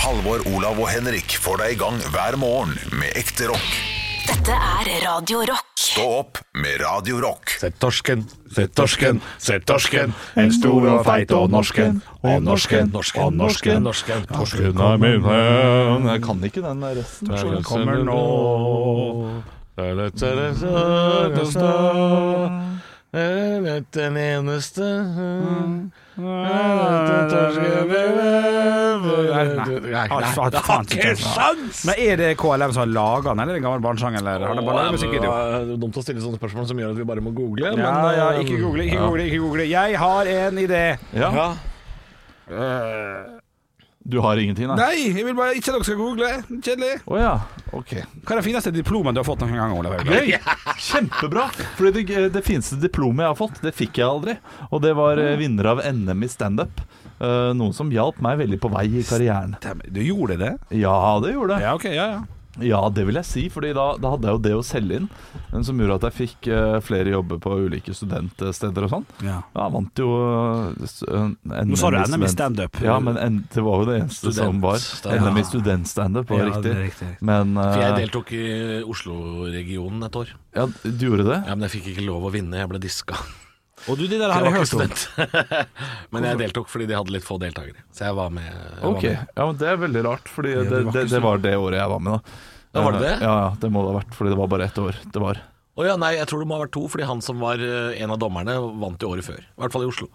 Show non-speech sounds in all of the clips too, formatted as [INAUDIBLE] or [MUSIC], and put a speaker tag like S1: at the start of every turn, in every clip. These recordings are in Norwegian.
S1: Halvor, Olav og Henrik får deg i gang hver morgen med ekte rock.
S2: Dette er Radio Rock.
S1: Stå opp med Radio Rock.
S3: Sett torsken, sett torsken, sett torsken. En stor og feit og norsken. Og norsken, og norsken.
S4: norsken.
S3: Torsken er min venn.
S4: Jeg kan ikke den der resten. skjønner
S3: Den
S4: du.
S3: kommer nå. Det er det søteste. Det er den eneste
S5: Men Er det KLM som har laga den, eller er det en gammel barnesang? Eller har det bare laget musikkvideo?
S4: Det er dumt å stille sånne spørsmål som gjør at vi bare må google.
S5: Ja,
S4: men,
S5: ja,
S4: eh,
S5: ikke google, ikke google, ikke google. Jeg har en idé.
S4: Ja. Du har ingenting, nei?
S5: Nei, jeg vil bare ikke at dere skal google. Kjedelig.
S4: Å ja. Ok.
S5: Hva er det fineste diplomet du har fått noen gang, Olav Haugland?
S4: Gøy! Kjempebra! Fordi det, eh, det fineste diplomet jeg har fått, det fikk jeg aldri. Og det var eh, vinner av NM i standup. Eh, Noe som hjalp meg veldig på vei i karrieren.
S5: Damn, Du gjorde det?
S4: Ja, det gjorde det.
S5: Ja, ok, ja, ja.
S4: Ja, det vil jeg si, fordi da, da hadde jeg jo det å selge inn, men som gjorde at jeg fikk eh, flere jobber på ulike studentsteder og sånn.
S5: Ja.
S4: Ja, jeg vant jo eh, s- en,
S5: Nå sa du
S4: i
S5: NM i
S4: student-
S5: standup.
S4: Ja, men en, det var jo det eneste som var.
S6: Studentstand-
S4: NM i studentstandup var
S5: Ja, det
S4: riktig.
S5: er riktig.
S4: Men eh,
S6: For jeg deltok i Oslo-regionen et år.
S4: ja, du gjorde det?
S6: Ja, Men jeg fikk ikke lov å vinne, jeg ble diska.
S5: Og du, det der har
S6: [LAUGHS] Jeg var
S5: jeg hørt om.
S6: ikke student. men jeg deltok fordi de hadde litt få deltakere. Så jeg var med. Jeg
S4: Ok,
S6: var med.
S4: ja, men det er veldig rart, fordi det,
S5: du var
S4: det,
S5: ikke
S4: det var det året jeg var med, da.
S6: Ja, var det
S4: Eh,
S6: det?
S4: Ja, ja, det må det ha vært, fordi det var bare ett år. Det var.
S6: Å ja, nei, jeg tror det må ha vært to, fordi han som var eh, en av dommerne, vant jo året før. I hvert fall i Oslo.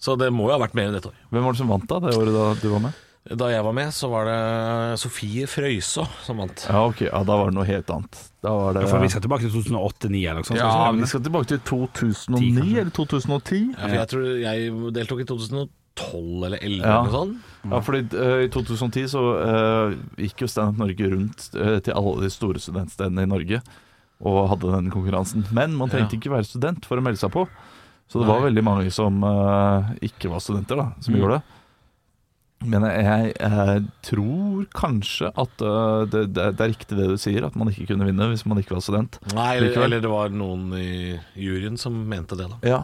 S6: Så det må jo ha vært mer enn dette år.
S4: Hvem var det som vant da, det året da du var med?
S6: Da jeg var med, så var det Sofie Frøysaa som vant.
S4: Ja, ok, ja, da var det noe helt annet. Da var det
S5: For vi skal tilbake til 2008-2009 eller noe sånt.
S4: Ja,
S5: skal vi
S4: vi
S5: ikke det?
S4: skal tilbake til 2009
S5: kanskje.
S4: eller 2010.
S6: Ja, for jeg tror jeg deltok i 2012 eller 2011
S4: Ja.
S6: eller sånn. noe sånt.
S4: Ja, fordi eh, i 2010 så eh, gikk jo Stand Up Norge rundt eh, til alle de store studentstedene i Norge og hadde den konkurransen. Men man trengte ikke være student for å melde seg på. Så det var veldig mange som eh, ikke var studenter, da, som gjorde det. Men jeg, jeg tror kanskje at eh, det, det, det er riktig det du sier, at man ikke kunne vinne hvis man ikke var student.
S6: Nei, eller,
S4: Likevel.
S6: eller det var noen i juryen som mente det, da.
S4: Ja.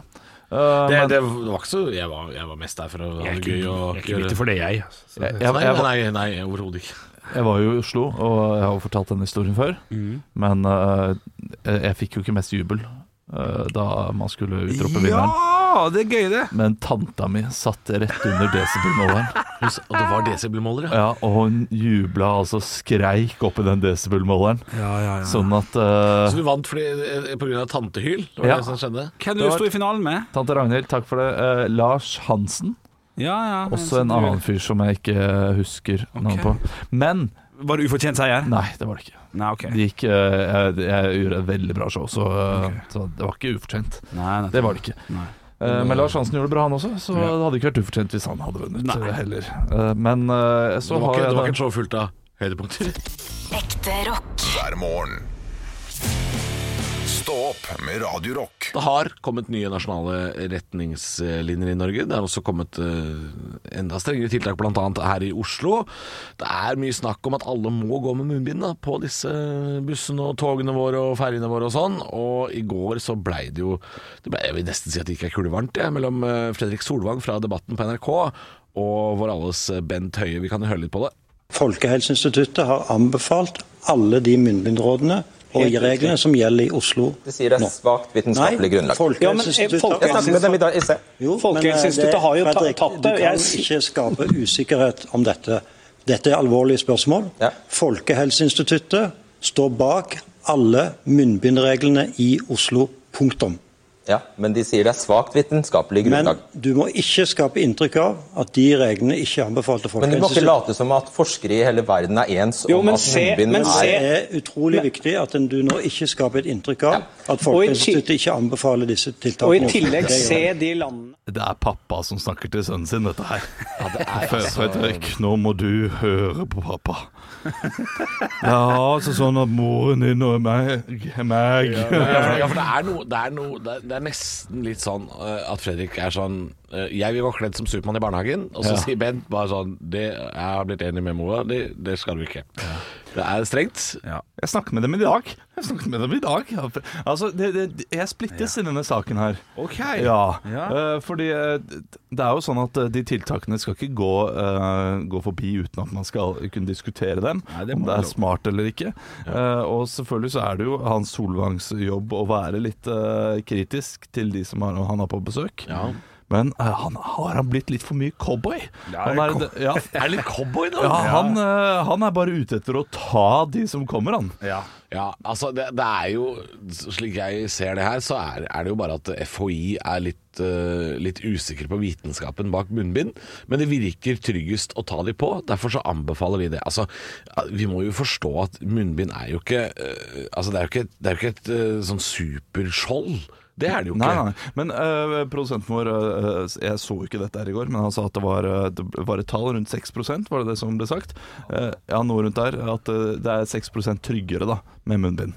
S4: Eh,
S6: Det,
S4: men-
S6: det var ikke så jeg var, jeg var mest der for å ha
S5: Jeg er
S6: det
S5: ikke-
S6: gøy
S5: jeg
S6: og
S5: er ikke bitter for det, jeg. altså.
S4: jeg, jeg,
S6: ja, nei,
S4: jeg,
S6: nei, nei, overhodet ikke.
S4: Jeg var jo i Oslo, og jeg har jo fortalt den historien før.
S5: Mm.
S4: Men eh, jeg jeg fikk jo ikke mest jubel eh, da man skulle utrope vinneren.
S5: Ja, det er gøy, det.
S4: Men tanta mi satt rett under desibelmåleren,
S6: Hun sa- Og det var desibelmåler, ja.
S4: ja, og hun jubla altså skreik oppi den desibelmåleren.
S5: Ja, ja, ja.
S4: Sånn at eh,
S6: Så du vant fordi, eh, på grunn av tantehyl? Det var
S4: Ja.
S6: det som skjedde?
S5: Hvem
S4: Det
S5: du
S4: var-
S5: sto i finalen med?
S4: Tante Ragnhild, takk for det. Eh, Lars Hansen,
S5: Ja, ja.
S4: også en
S5: du-
S4: annen fyr som jeg ikke husker navnet
S5: Ok.
S4: på. Men
S5: Var det ufortjent seier?
S4: nei, det var det ikke.
S5: Nei, ok.
S4: Det gikk, eh, jeg, jeg gjorde et veldig bra show, så, eh,
S5: Ok.
S4: så det var ikke ufortjent.
S5: Nei, nei.
S4: Det var det ikke.
S5: Nei.
S4: Eh, Men Lars Hansen gjorde det bra, han også, så
S5: Ja.
S4: det hadde ikke vært ufortjent hvis han hadde vunnet
S5: Nei.
S4: eh, heller. Eh, Men eh, så
S6: Det var,
S4: har
S6: ikke,
S4: jeg
S6: det var
S4: da-
S6: ikke så fullt av høydepunkter.
S2: Ekte rock.
S1: Hver morgen. Stå opp med Radio Rock.
S6: Det har kommet nye nasjonale retningslinjer i Norge. Det har også kommet eh, enda strengere tiltak, bl.a. her i Oslo. Det er mye snakk om at alle må gå med munnbind da, på disse bussene og togene våre og ferjene våre og sånn. Og i går så blei det jo det ble, Jeg vil nesten si at det ikke er kulevarmt, jeg, mellom eh, Fredrik Solvang fra Debatten på NRK og vår alles eh, Bent Høie. Vi kan jo høre litt på det.
S7: Folkehelseinstituttet har anbefalt alle de munnbindrådene og reglene som gjelder i Oslo
S8: Du sier det er
S7: nå.
S8: svakt vitenskapelig grunnlag.
S7: Folkehelseinstituttet
S8: Jeg snakket med dem i dag i sted.
S7: eh, Jo, men,
S9: eh, Folkehelseinstituttet
S7: eh,
S9: har jo ta-
S7: Fredrik,
S9: tatt det.
S7: Du
S9: Jeg
S7: kan
S9: s-
S7: ikke skape usikkerhet om dette. Dette er alvorlige spørsmål.
S8: Ja.
S7: Folkehelseinstituttet står bak alle munnbindreglene i Oslo. Punktum.
S8: Ja, men de sier det er svakt vitenskapelig
S7: Men
S8: grunnlag.
S7: du må ikke skape inntrykk av at de reglene ikke er anbefalt av
S8: Men du må ikke
S7: Folkehelseinstituttet.
S8: late som at forskere i hele verden er ens
S9: Jo,
S8: om
S9: men
S8: at
S9: se-
S8: munnbind
S9: men
S7: Det
S9: se-
S8: er
S7: er utrolig viktig at en- du nå ikke skaper et inntrykk av at Folkehelseinstituttet ikke anbefaler disse tiltakene.
S9: Og i tillegg
S7: Det gjør
S9: se
S7: jeg.
S9: de landene
S4: Det er pappa som snakker til sønnen sin, dette [LAUGHS] her. Fe- Fredrik, nå må du høre på pappa. [LAUGHS] Det er altså sånn at moren din og meg, meg.
S6: Ja, for- ja, for det er noe Det er, noe, det er, det er nesten litt sånn eh, at Fredrik er sånn eh, Jeg vil gå kledd som Supermann i barnehagen, og så sier Bent bare sånn det, 'Jeg har blitt enig med mora di, det skal du ikke'. Det er strengt.
S4: Jeg snakket med dem i dag. Jeg snakket med dem i dag. Altså, det, det, jeg splittes i denne saken her.
S5: Ok.
S4: Ja,
S5: Ja.
S4: eh, fordi eh, det er jo sånn at eh, de tiltakene skal ikke gå, eh, gå forbi uten at man skal kunne diskutere dem,
S5: Nei, det må
S4: om det
S5: være
S4: er
S5: lov.
S4: smart eller ikke. Eh, og selvfølgelig så er det jo Hans Solvangs jobb å være litt eh, kritisk til de som har, han har på besøk. Men eh, han, har han blitt litt for mye cowboy?
S5: Ja,
S4: han er,
S5: co-
S4: ja,
S6: [LAUGHS] Er det litt cowboy nå?
S4: ja, han, eh, han er bare ute etter å ta de som kommer, han.
S5: Ja.
S6: Ja, altså det, det er jo Slik jeg ser det her, så er, er det jo bare at FHI er litt, eh, litt usikker på vitenskapen bak munnbind. Men det virker tryggest å ta de på, derfor så anbefaler vi det. Altså, Vi må jo forstå at munnbind er jo ikke eh, Altså Det er jo ikke, det er jo ikke et eh, sånn superskjold. Det er det jo ikke.
S4: Nei, nei, nei. Men eh, produsenten vår eh, Jeg så jo ikke dette her i går, men han sa at det var, eh, det var et tall rundt 6 var det det som ble sagt? Eh, ja, noe rundt der. At eh, det er 6 tryggere da med munnbind.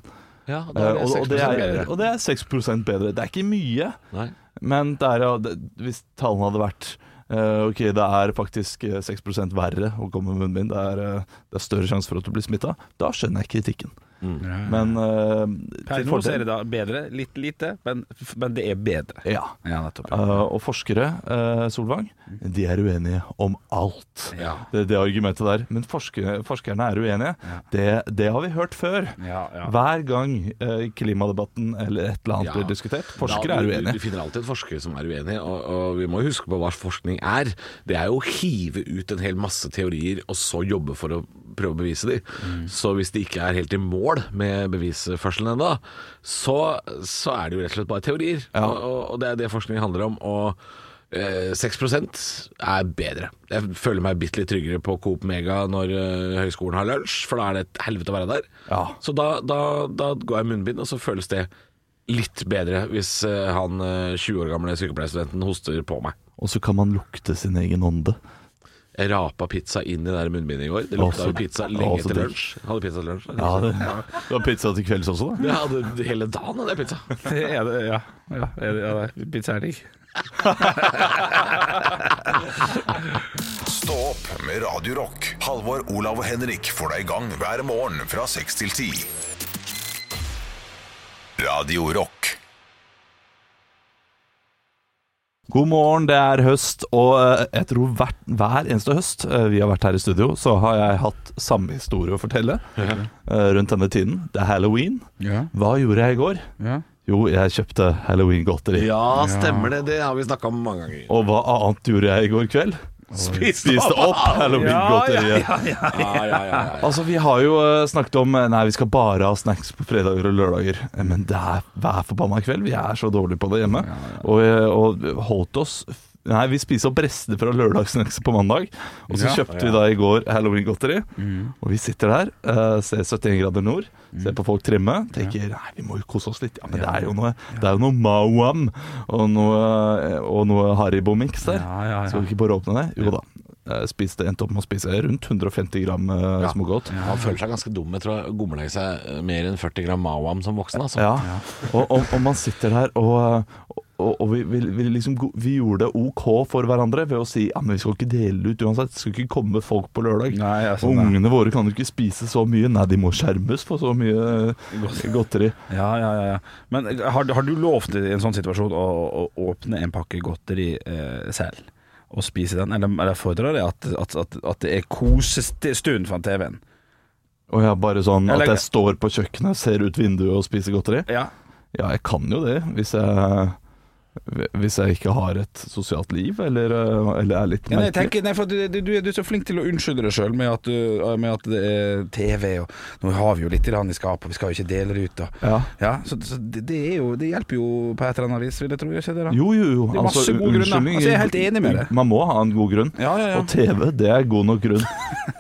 S6: Ja,
S4: Eh,
S6: da er det
S4: og, og, det
S6: 6%
S4: er,
S6: bedre.
S4: og det er 6 bedre. Det er ikke mye,
S6: Nei.
S4: men det er, ja, det, hvis tallene hadde vært eh, ok, det er faktisk eh, 6 verre å gå med munnbind. Det er, eh, det er større sjanse for at du blir smitta. Da skjønner jeg kritikken.
S6: Mm.
S4: Men eh,
S5: Per
S4: til
S5: nå så
S4: fordel-
S5: er det da bedre. Litt lite, men, men det er bedre.
S4: ja.
S5: Ja, nettopp.
S4: Eh, og forskere, eh, Solvang, de er uenige om alt.
S5: Ja.
S4: Det, det argumentet der. Men forske, forskerne er uenige. Det, det har vi hørt før.
S5: Ja, ja.
S4: Hver gang eh, klimadebatten eller et eller annet
S6: Ja.
S4: blir diskutert.
S6: Ja, du-
S4: Forskere er
S6: Du, du
S4: uenige.
S6: finner alltid en forsker som er uenig, og, og vi må jo huske på hva forskning er. Det er jo å hive ut en hel masse teorier, og så jobbe for å prøve å bevise de.
S4: Mm.
S6: Så hvis de ikke er helt i mål med bevisførselen ennå, så, så er det jo rett og slett bare teorier. Og, og- og det er det forskning handler om. og eh, 6 er bedre. Jeg føler meg bitte litt tryggere på Coop Mega når eh, høyskolen har lunsj, for da er det et helvete å være der.
S4: Ja.
S6: Så da, da, da går jeg i munnbind, og så føles det litt bedre hvis eh, han eh, 20 år gamle sykepleierstudenten hoster på meg.
S4: Og så kan man lukte sin egen ånde.
S6: Jeg rapa pizza inn i det der munnbindet i går. Det
S4: Å,
S6: lukta
S4: så-
S6: jo pizza
S4: å,
S6: lenge
S4: så
S6: etter
S4: digg.
S6: lunsj. Jeg Hadde pizza til lunsj.
S4: Ja, det, det var pizza til kvelds også, da.
S6: Jeg hadde hele dagen hadde jeg pizza.
S5: Det er det, ja. ja, er det, ja det er pizza er digg.
S1: Stå opp med Radio Rock. Halvor, Olav og Henrik får deg i gang hver morgen fra 6 til 10. Radio Rock.
S4: God morgen, det er høst, og eh, jeg tror hvert, hver eneste høst eh, vi har vært her i studio, så har jeg hatt samme historie å fortelle eh, rundt denne tiden. Det er halloween.
S5: Ja.
S4: Hva gjorde jeg i går?
S5: Ja.
S4: Jo, jeg kjøpte halloween-godteri.
S6: Ja, stemmer det. Det har vi snakka om mange ganger.
S4: Og hva annet gjorde jeg i går kveld?
S6: Spiste
S4: Spiste opp halloween-godteriet.
S6: Ja, ja, ja, ja.
S4: Altså, Vi har jo eh, snakket om eh, Nei, vi skal bare ha snacks på fredager og lørdager. Eh, Men det er hver forbanna kveld. Vi er så dårlige på det hjemme. Og, eh, og holdt oss Nei, vi spiser opp restene fra lørdagssnacks på mandag. Og så
S5: Ja. Mm.
S4: kjøpte vi da i går halloween-godteri. Og vi sitter der, eh, ser 71 grader nord, ser på folk trimme. Tenker nei, vi må jo kose oss litt. Ja, men det er jo noe Det er jo noe Mawam og noe, eh, og noe Haribo-miks der.
S5: Ja, ja, ja.
S4: Skal vi ikke bare åpne det? Jo da. Eh, Jeg Spiste, endte opp med å spise rundt 150 gram eh, smågodt.
S6: Han føler seg ganske dum etter å ha gommelegge seg eh, mer enn 40 gram Mawam som voksen. Altså.
S4: Ja, og, og, og man sitter der og, eh, og, og vi, vi, vi, liksom, go- vi gjorde det ok for hverandre ved å si ja, men vi skal ikke dele det ut uansett. Det skal ikke komme folk på lørdag.
S5: Nei, ja,
S4: Og
S5: sånn, ja.
S4: Ungene våre kan jo ikke spise så mye. Nei, de må skjermes for så mye eh, godteri.
S5: Ja, ja, ja, ja. Men eh, har, har du lovt i en sånn situasjon å, å åpne en pakke godteri eh, selv? Og spise den? Eller, eller fordrer det at, at, at, at det er kosestund fra TV-en?
S4: Og jeg bare sånn at
S5: Eller-
S4: jeg står på kjøkkenet, ser ut vinduet og spiser godteri.
S5: Ja.
S4: Ja, jeg kan jo det hvis jeg hvis jeg ikke har et sosialt liv, eller, eh, eller er litt
S5: Ja, nei, jeg
S4: merkelig.
S5: tenker, nei, for du, du, du er- du er så flink til å unnskylde deg sjøl med, at du- eh, med at det er TV, og nå har vi jo litt grann i skapet, vi skal jo ikke dele det ut. Og,
S4: Ja.
S5: ja, så så det, det, er jo, det hjelper jo på et eller annet vis, vil jeg tro. gjør ikke det da?
S4: Jo, jo, jo.
S5: Det er masse gode grunner.
S4: unnskyldning-
S5: Altså, jeg er helt enig med deg.
S4: Man må ha en god grunn.
S5: Ja, ja, ja.
S4: Og TV, det er god nok grunn.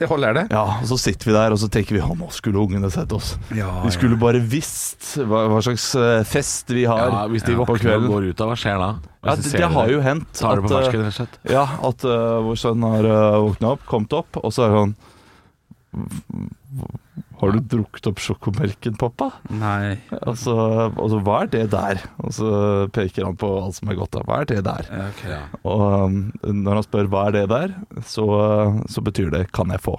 S5: Det holder det?
S4: Ja, og Så sitter vi der og så tenker vi at nå skulle ungene sett oss.
S5: Ja,
S4: de skulle bare visst hva, hva slags eh, fest vi har
S6: Ja, hvis de
S4: på
S6: våkner og
S4: kvelden.
S6: går ut av, hva skjer da?
S4: Ja, det, det har jo hendt
S6: Tar det på
S4: at, eh,
S6: fersken, rett og slett.
S4: Ja, at eh, vår sønn har uh, våkna opp, kommet opp, og så er han Har du drukket opp sjokomelken, pappa?
S5: Nei.
S4: Altså, altså, hva er det der? Og så peker han på alt som er godt. da. Hva er det der? Og um, når han spør hva er det der, så, så betyr det 'kan jeg få'.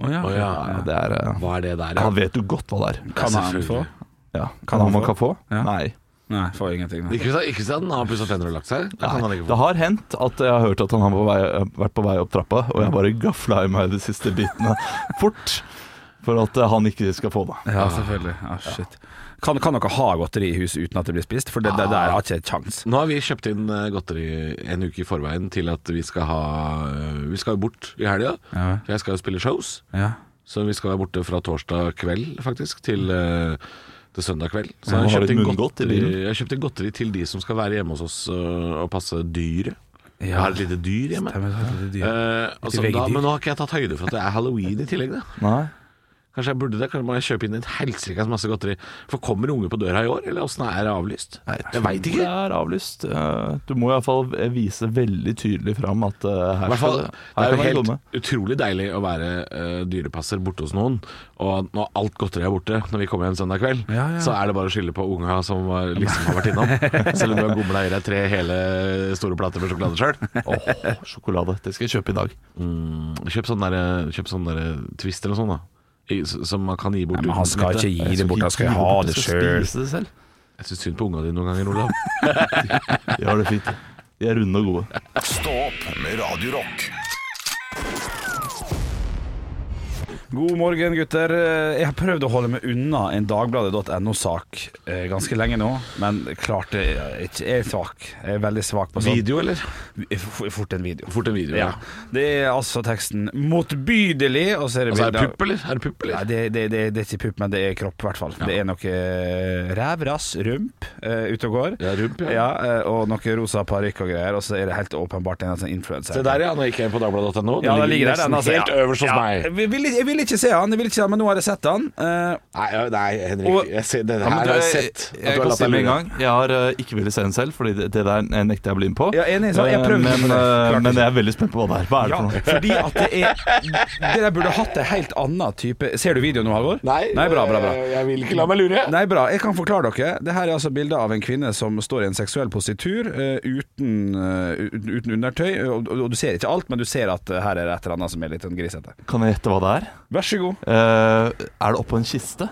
S5: Å ja.
S6: Å ja.
S4: Ja, det er, eh,
S6: Hva er det der,
S4: han vet jo godt hva det er.
S5: Kan han
S6: selvfølgelig.
S5: få?
S4: Ja. Kan han man kan få?
S5: Ja.
S4: Nei.
S5: Nei, får ingenting. Nei.
S6: Ikke hvis- ikke hvis han har pussa tenner og lagt seg? Da kan han
S4: Nei.
S6: ikke få.
S4: Det har hendt at jeg har hørt at han har på vei, vært på vei opp trappa, og jeg bare gafla i meg de siste bitene fort for at eh, han ikke skal få det.
S5: Ja, selvfølgelig. Ah, shit. Kan, kan dere ha godteri i huset uten at det blir spist? For det, det der har ikke jeg kjangs.
S6: Nå har vi kjøpt inn eh, godteri en uke i forveien til at vi skal ha eh, Vi skal jo bort i helga.
S5: Ja.
S6: For Jeg skal jo spille shows.
S5: Ja.
S6: Så vi skal være borte fra torsdag kveld, faktisk, til, eh, til søndag kveld. Så
S4: Ja,
S6: jeg har
S4: har du
S6: kjøpt inn
S4: et munngodt i
S6: godteri,
S4: bilen?
S6: jeg har kjøpt inn godteri til de som skal være hjemme hos oss øh, og passe dyret. Jeg har et lite dyr hjemme.
S5: Stemmer, altså, det er et lite dyr.
S6: Eh, og så
S5: Ikke
S6: da,
S5: vegedyr.
S6: men nå har ikke jeg tatt høyde for at det er halloween i tillegg. Da.
S4: Nei.
S6: Kanskje jeg burde det, kanskje må jeg kjøpe inn et helsikes masse godteri. For kommer unge på døra i år, eller åssen er det avlyst? Jeg veit
S4: Det
S6: ikke.
S4: er avlyst. Eh, Du må iallfall vise veldig tydelig fram at eh,
S6: I
S4: her
S6: hvert fall, det er
S4: skal her
S6: jo
S4: kan vi
S6: helt
S4: komme.
S6: utrolig deilig å være eh, dyrepasser borte hos noen. Og når alt godteri er borte når vi kommer hjem søndag kveld,
S5: Ja, ja.
S6: så er det bare å skylde på unga som var, liksom har vært
S5: [LAUGHS]
S6: innom. Selv om du har gomla i deg tre hele store plater med sjokolade sjøl.
S4: Åh, sjokolade. Det skal jeg kjøpe i dag.
S6: Kjøp sånn derre der eh, Twist eller noe sånt, da. I, s- som man kan gi bort
S5: Men han skal ikke gi det bort, han skal ha det sjøl.
S4: Spise det selv.
S6: Jeg syns synd på unga dine noen ganger,
S5: [LAUGHS]
S6: Olav.
S4: Ja, det er fint. De er runde og gode.
S1: Stå opp med Radio Rock.
S5: God morgen, gutter. Eh, Jeg har prøvd å holde meg unna en Dagbladet.no-sak eh, ganske lenge nå, men klart det er ikke jeg er svak. Jeg er veldig svak på sånt.
S6: Video, eller?
S5: F- Fort en video.
S6: Fort en video.
S5: Sånn. Ja.
S6: Ja.
S5: Det er altså teksten 'motbydelig', og så er det
S6: Altså, er det
S5: bilder-
S6: pupp, eller? Er det pupp,
S5: Nei,
S6: eller?
S5: det, det, det, det er ikke pupp, men det er kropp, i hvert fall. Det er noe eh, ræv, rass, rump eh, ute og går.
S6: Ja, rump, ja.
S5: eh, og noe rosa parykk og greier, og så er det helt åpenbart en sånn influenser.
S6: Se der, ja. Nå gikk jeg inn på dagbladet.no.
S5: Ja, den ligger der,
S6: nesten
S5: den, altså.
S6: helt
S5: Ja.
S6: øverst hos
S5: Ja,
S6: meg.
S5: Jeg vil, jeg vil ikke se han, jeg vil ikke se han, men nå har jeg sett han. eh,
S6: Nei, ja, nei Henrik,
S5: Og-
S6: jeg ser, det
S4: Ja,
S6: her
S4: men
S6: har
S4: du,
S6: jeg sett. at
S4: Jeg
S6: du har
S4: kan
S6: latt
S4: si
S6: deg
S4: med en
S6: lure.
S4: gang Jeg har eh, ikke villet se den selv, Fordi det, det der eh, nekter jeg å bli med på.
S5: Ja, enig, sant? Jeg
S4: Eh,
S5: prøvde ikke,
S4: men,
S5: men det
S4: eh,
S5: klarte
S4: men
S5: ikke.
S4: jeg er veldig spent på hva det er. Hva er det
S5: Ja,
S4: for noe?
S5: fordi at det er Det der burde hatt en helt annen type Ser du videoen nå, Halvor? Nei, bra, bra, bra.
S6: eh, Jeg vil ikke la meg lure.
S5: Nei, bra. Jeg kan forklare dere. Det her er altså bilde av en kvinne som står i en seksuell positur eh, uten, eh, uten, uten undertøy. Og, og du ser ikke alt, men du ser at eh, her er det et eller annet som er litt sånn grisete.
S4: Kan jeg gjette hva det er?
S5: Vær så god.
S4: Eh, er det oppå en kiste?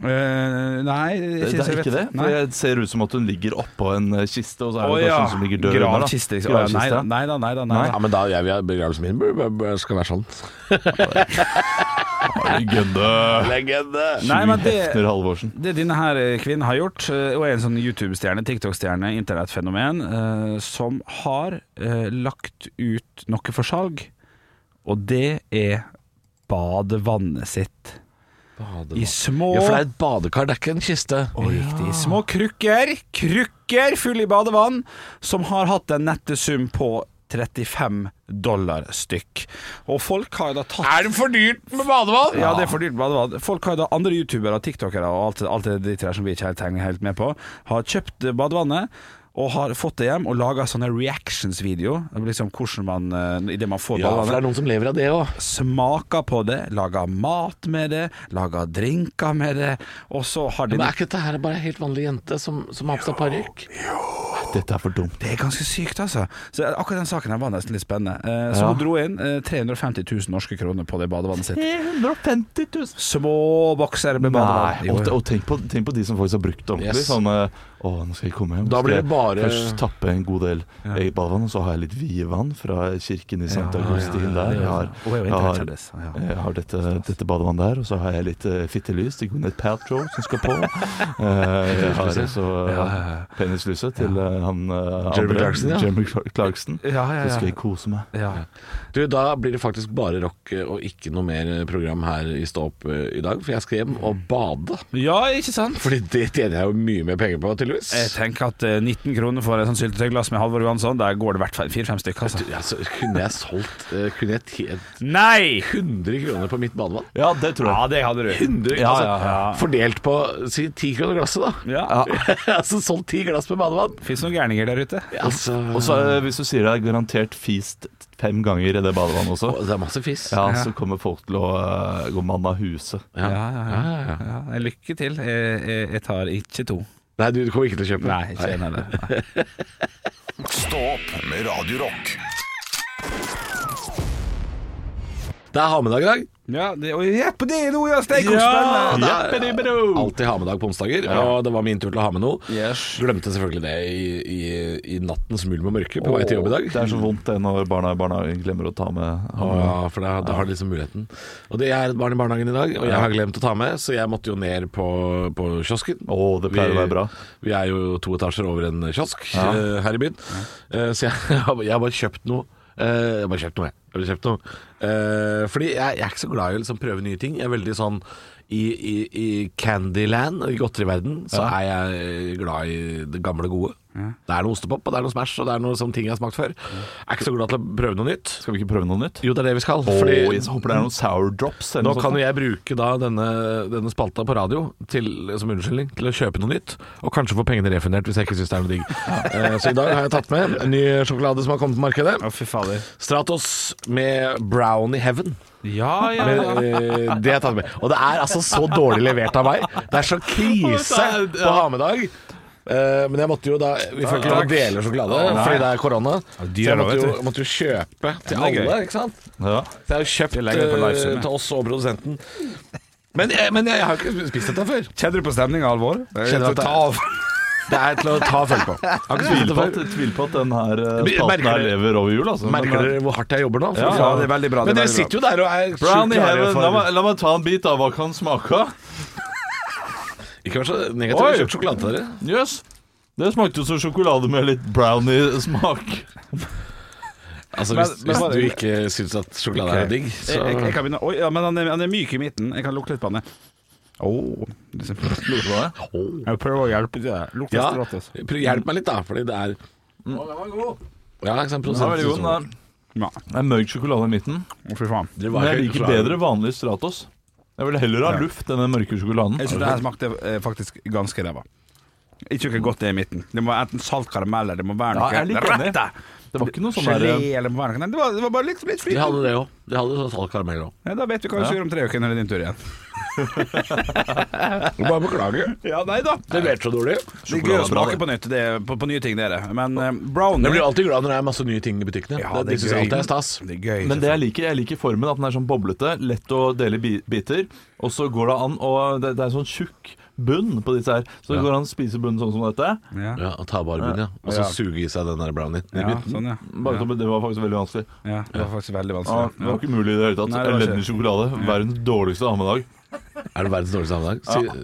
S5: Eh, nei,
S4: Det, det
S5: så
S4: er
S5: jeg
S4: ikke det.
S5: vet.
S4: For
S5: Nei.
S4: det ser ut som at hun ligger oppå en eh, kiste, og så er
S5: Å
S4: det kanskje
S5: ja.
S4: hun som ligger død under, da.
S5: Gravkiste, liksom. Å, ja, Nei da,
S4: Gravkiste.
S5: nei da. Nei, da, nei,
S4: Nei.
S5: da.
S6: Ja, men da jeg vil ha begravelsen min bør- bør- bør- skal være sånn.
S4: Gønne
S6: Legende!
S5: Nei, men det-
S4: Hefner Halvorsen.
S5: Det denne her kvinnen har gjort, eh, og er en sånn YouTube-stjerne, TikTok-stjerne, internettfenomen, eh, som har eh, lagt ut noe for salg, og det er badevannet sitt. I små
S6: Ja, for det er et badekar, det er ikke en kiste.
S5: Riktig. I Små krukker, krukker fulle i badevann, som har hatt en nette sum på 35 dollar stykk. Og folk har jo da tatt
S6: Er det for dyrt med badevann?
S5: ja, det er for dyrt badevann. Folk har jo da andre youtubere og tiktokere og alt, alt det dritt der som vi ikke helt henger helt med på, har kjøpt eh, badevannet. Og har fått det hjem og laga sånne reactions-video. Liksom hvordan man eh, i det man får
S6: Ja, for det
S5: badevannet.
S6: er noen som lever av det òg.
S5: Smaker på det, lager mat med det, lager drinker med det, og så har de
S6: Men er ikke dette her bare ei helt vanlig jente som, som har på seg parykk?
S4: Dette er for dumt.
S5: Det er ganske sykt, altså. Så akkurat den saken her var nesten litt spennende. Eh, Så
S4: Ja.
S5: hun dro inn eh, 350 000 norske kroner på det badevannet sitt.
S4: 150 000
S5: Små bokser med badevann.
S4: Nei,
S5: Jo,
S4: og,
S5: jo.
S4: og tenk, på, tenk på de som faktisk har brukt det ordentlig.
S6: Yes.
S4: Sånn eh, Å, nå skal jeg komme hjem.
S6: Da
S4: Skal
S6: blir det
S4: jeg
S6: bare-
S4: Først tappe en god del eget badevann, og så har jeg litt vievann fra kirken i St. Augustin der. Jeg har,
S5: Og jeg er jo
S4: jeg har, eh,
S5: internettkjendis, ja.
S4: jeg har dette, dette badevannet der, og så har jeg litt eh, fittelys til Gwyneth Paltrow som skal på. Eh, jeg har også eh, penislyset til eh, han eh,
S6: Jeremy
S4: andre,
S6: Clarkson, ja.
S4: Jeremy Clark- Clarkson.
S5: Ja, ja, ja.
S4: Så skal jeg kose meg.
S5: Ja.
S6: Du, Da blir det faktisk bare rock eh, og ikke noe mer eh, program her i Stå opp eh, i dag, for jeg skal hjem og bade.
S5: ja, ikke sant?
S6: Fordi det tjener jeg jo mye mer penger på, tydeligvis.
S5: Jeg tenker at eh, 19 kroner for en sånn syltetøyglass med Halvor Johansson, der går det i hvert fall fire-fem stykker. Altså.
S6: Ja, så kunne jeg solgt eh, Kunne jeg tjent
S5: Nei!
S6: 100 kroner på mitt badevann?
S4: Ja, det tror
S5: Ja,
S4: jeg.
S5: det hadde du.
S6: 100,
S4: Ja,
S6: altså,
S4: ja,
S6: Fordelt på si 10 kroner glasset, da.
S5: Ja.
S6: [LAUGHS] altså solgt 10 glass med badevann.
S5: Fins noen gærninger der ute.
S6: Altså,
S4: Og så eh, hvis du sier det er garantert fist fem ganger i det badevannet også.
S6: det er masse fiss.
S4: Ja, så kommer folk til å eh, gå mann av huset.
S6: Ja.
S5: Ja, ja, ja.
S6: Ja, ja, ja.
S5: ja lykke til. Jeg, jeg, jeg tar ikke to.
S6: Nei, du kommer ikke til å kjøpe.
S5: Nei, ikke en heller. Nei.
S1: Stå opp med Radio Rock.
S6: Det er ha med dag i dag.
S5: [LAUGHS] Ja, det, og jepp, det er noe, ja! Steik og
S6: Ja,
S5: spenn!
S6: det er
S4: Jeppidibro!
S6: alltid ha med dag på onsdager, og det var min tur til å ha med noe. Glemte selvfølgelig det i, i, i nattens mulm og mørke på vei til jobb i dag.
S4: Det er så vondt det når barna i barnehagen glemmer å ta med
S6: Å, ja, for da, da har de liksom muligheten. Og det er et barn i barnehagen i dag, og jeg har glemt å ta med, så jeg måtte jo ned på, på kiosken.
S4: Å, det pleier å være bra.
S6: Vi er jo to etasjer over en kiosk eh, her i byen, Eh, så jeg, [LAUGHS] har bare- jeg har bare kjøpt noe. Eh, jeg har bare kjøpt noe, jeg. jeg har bare kjøpt noe. Eh, fordi jeg, jeg er ikke så glad i å liksom prøve nye ting. Jeg er veldig sånn i, i, i Candyland, i godteriverden, så er jeg glad i det gamle gode. Det er noe ostepop, og det er noe Smash, og det er noe sånne ting jeg har smakt før. Jeg er ikke så glad til å prøve noe nytt.
S4: Skal vi ikke prøve noe nytt?
S6: Jo, det er det vi skal.
S4: Åh,
S6: fordi
S4: jeg håper det er noen sour drops. Eller
S6: nå
S4: noe
S6: kan jo
S4: sånt.
S6: jeg bruke da denne, denne spalta på radio til, som unnskyldning til å kjøpe noe nytt, og kanskje få pengene refundert hvis jeg ikke syns det er noe digg. Eh, Så i dag har jeg tatt med en ny sjokolade som har kommet på markedet.
S5: Å, fy fader.
S6: Stratos med Brownie Heaven.
S5: Ja, ja,
S6: Men,
S5: ja.
S6: eh, det har jeg tatt med. Og det er altså så dårlig levert av meg. Det er så krise på Hamedag. Eh, men jeg måtte jo da Vi får ikke lov å dele sjokolade fordi det er korona. Så
S5: dyr
S6: jeg
S5: nå,
S6: måtte
S5: vet
S6: jo,
S5: du.
S6: måtte jo kjøpe til
S5: det er
S6: alle,
S5: gøy.
S6: ikke sant?
S4: Ja.
S6: Så jeg har jo kjøpt
S5: legger det på
S6: eh,
S5: livestream, ja.
S6: til oss og produsenten. Men, eh, men jeg har jo ikke spist dette før.
S5: Kjenner du på stemninga, Alvor?
S6: Kjenner at det-
S5: Ta av.
S6: Det er til å ta og føle på. Jeg har ikke spist
S4: Tviler
S6: dette
S4: på,
S6: før.
S4: at, tviler på at den her eh,
S6: Merker
S4: spalten her
S6: dere-
S4: lever over jul, altså.
S6: [LAUGHS] Merker
S4: Men,
S6: dere hvor hardt jeg jobber nå?
S5: Ja, ja, det er veldig bra, det er
S6: Men dere
S5: veldig bra.
S6: sitter jo der og er
S4: Brown i
S6: sjukt klare
S4: heaven.
S6: for-
S4: La meg, la meg ta en bit av hva kan smake.
S6: Ikke vær så
S4: Oi!
S6: negativ. Kjøp sjokolade til dere.
S4: Jøss. Det smakte jo som sjokolade med litt brownie-smak.
S6: Altså,
S5: Men-
S6: hvis,
S5: men
S6: hvis
S5: bare-
S6: du ikke syns at sjokolade er digg, så
S5: Jeg, jeg, jeg kan begynne. Oi, ja, men han er, han er myk i midten. Jeg kan lukte litt på han. jeg. Åh, liksom. [LAUGHS] Jeg prøver å hjelpe til. deg. Lukter altså.
S6: ja,
S5: Stratos.
S6: pr- Hjelp meg litt, da, fordi det er Ja, ikke sant,
S4: Den er veldig god.
S6: produsenten- sånn.
S4: den er-
S5: Ja,
S4: Det er mørk sjokolade i midten.
S5: Å, fy faen.
S6: Dere var
S4: Men jeg
S6: helt
S4: liker
S6: klar.
S4: bedre vanlig Stratos. Jeg vil heller ha luft enn den mørke sjokoladen.
S5: Jeg synes det her smakte eh, faktisk ganske ræva. Ikke noe godt det i midten. Det må være enten salt karamell eller det må være
S4: Ja,
S5: noe
S4: jeg er litt enig. Det var ikke noe sånn der
S5: Gelé eller må være noe Nei, det var, det var bare litt, litt
S6: De
S5: flyt.
S6: hadde det òg. De hadde sånn salt karamell òg.
S5: Ja, da vet vi hva vi skal gjøre om tre uker når det er din tur igjen.
S6: Bare beklager.
S5: Ja, nei da.
S6: Det leverte så dårlig.
S5: Det er gøy å smake på nytt. Det er på, på nye ting, dere. Men eh, brownie
S6: Jeg blir alltid glad når det er masse nye ting i butikkene.
S5: Ja,
S6: det, det, synes jeg alltid er stas.
S5: Det er gøy.
S4: Men det jeg liker, jeg liker formen, at den er sånn boblete, lett å dele i bi- biter. Og så går det an å Det, det er sånn tjukk bunn på disse her, så det går an å spise bunnen sånn som dette.
S5: ja.
S6: Ja, og ta bare bunn, ja. Og så
S5: Ja.
S6: suge i seg den der brownien. i
S5: ja,
S6: midten.
S5: sånn, ja.
S4: Bare til å- Det var faktisk veldig vanskelig.
S5: ja. Det var faktisk veldig
S4: Ja,
S5: vanskelig.
S4: det var ikke mulig i det hele tatt.
S5: Nei, det var ikke.
S4: Elendig sjokolade. Verdens dårligste hammedag.
S6: Er det verdens dårligste sammenheng?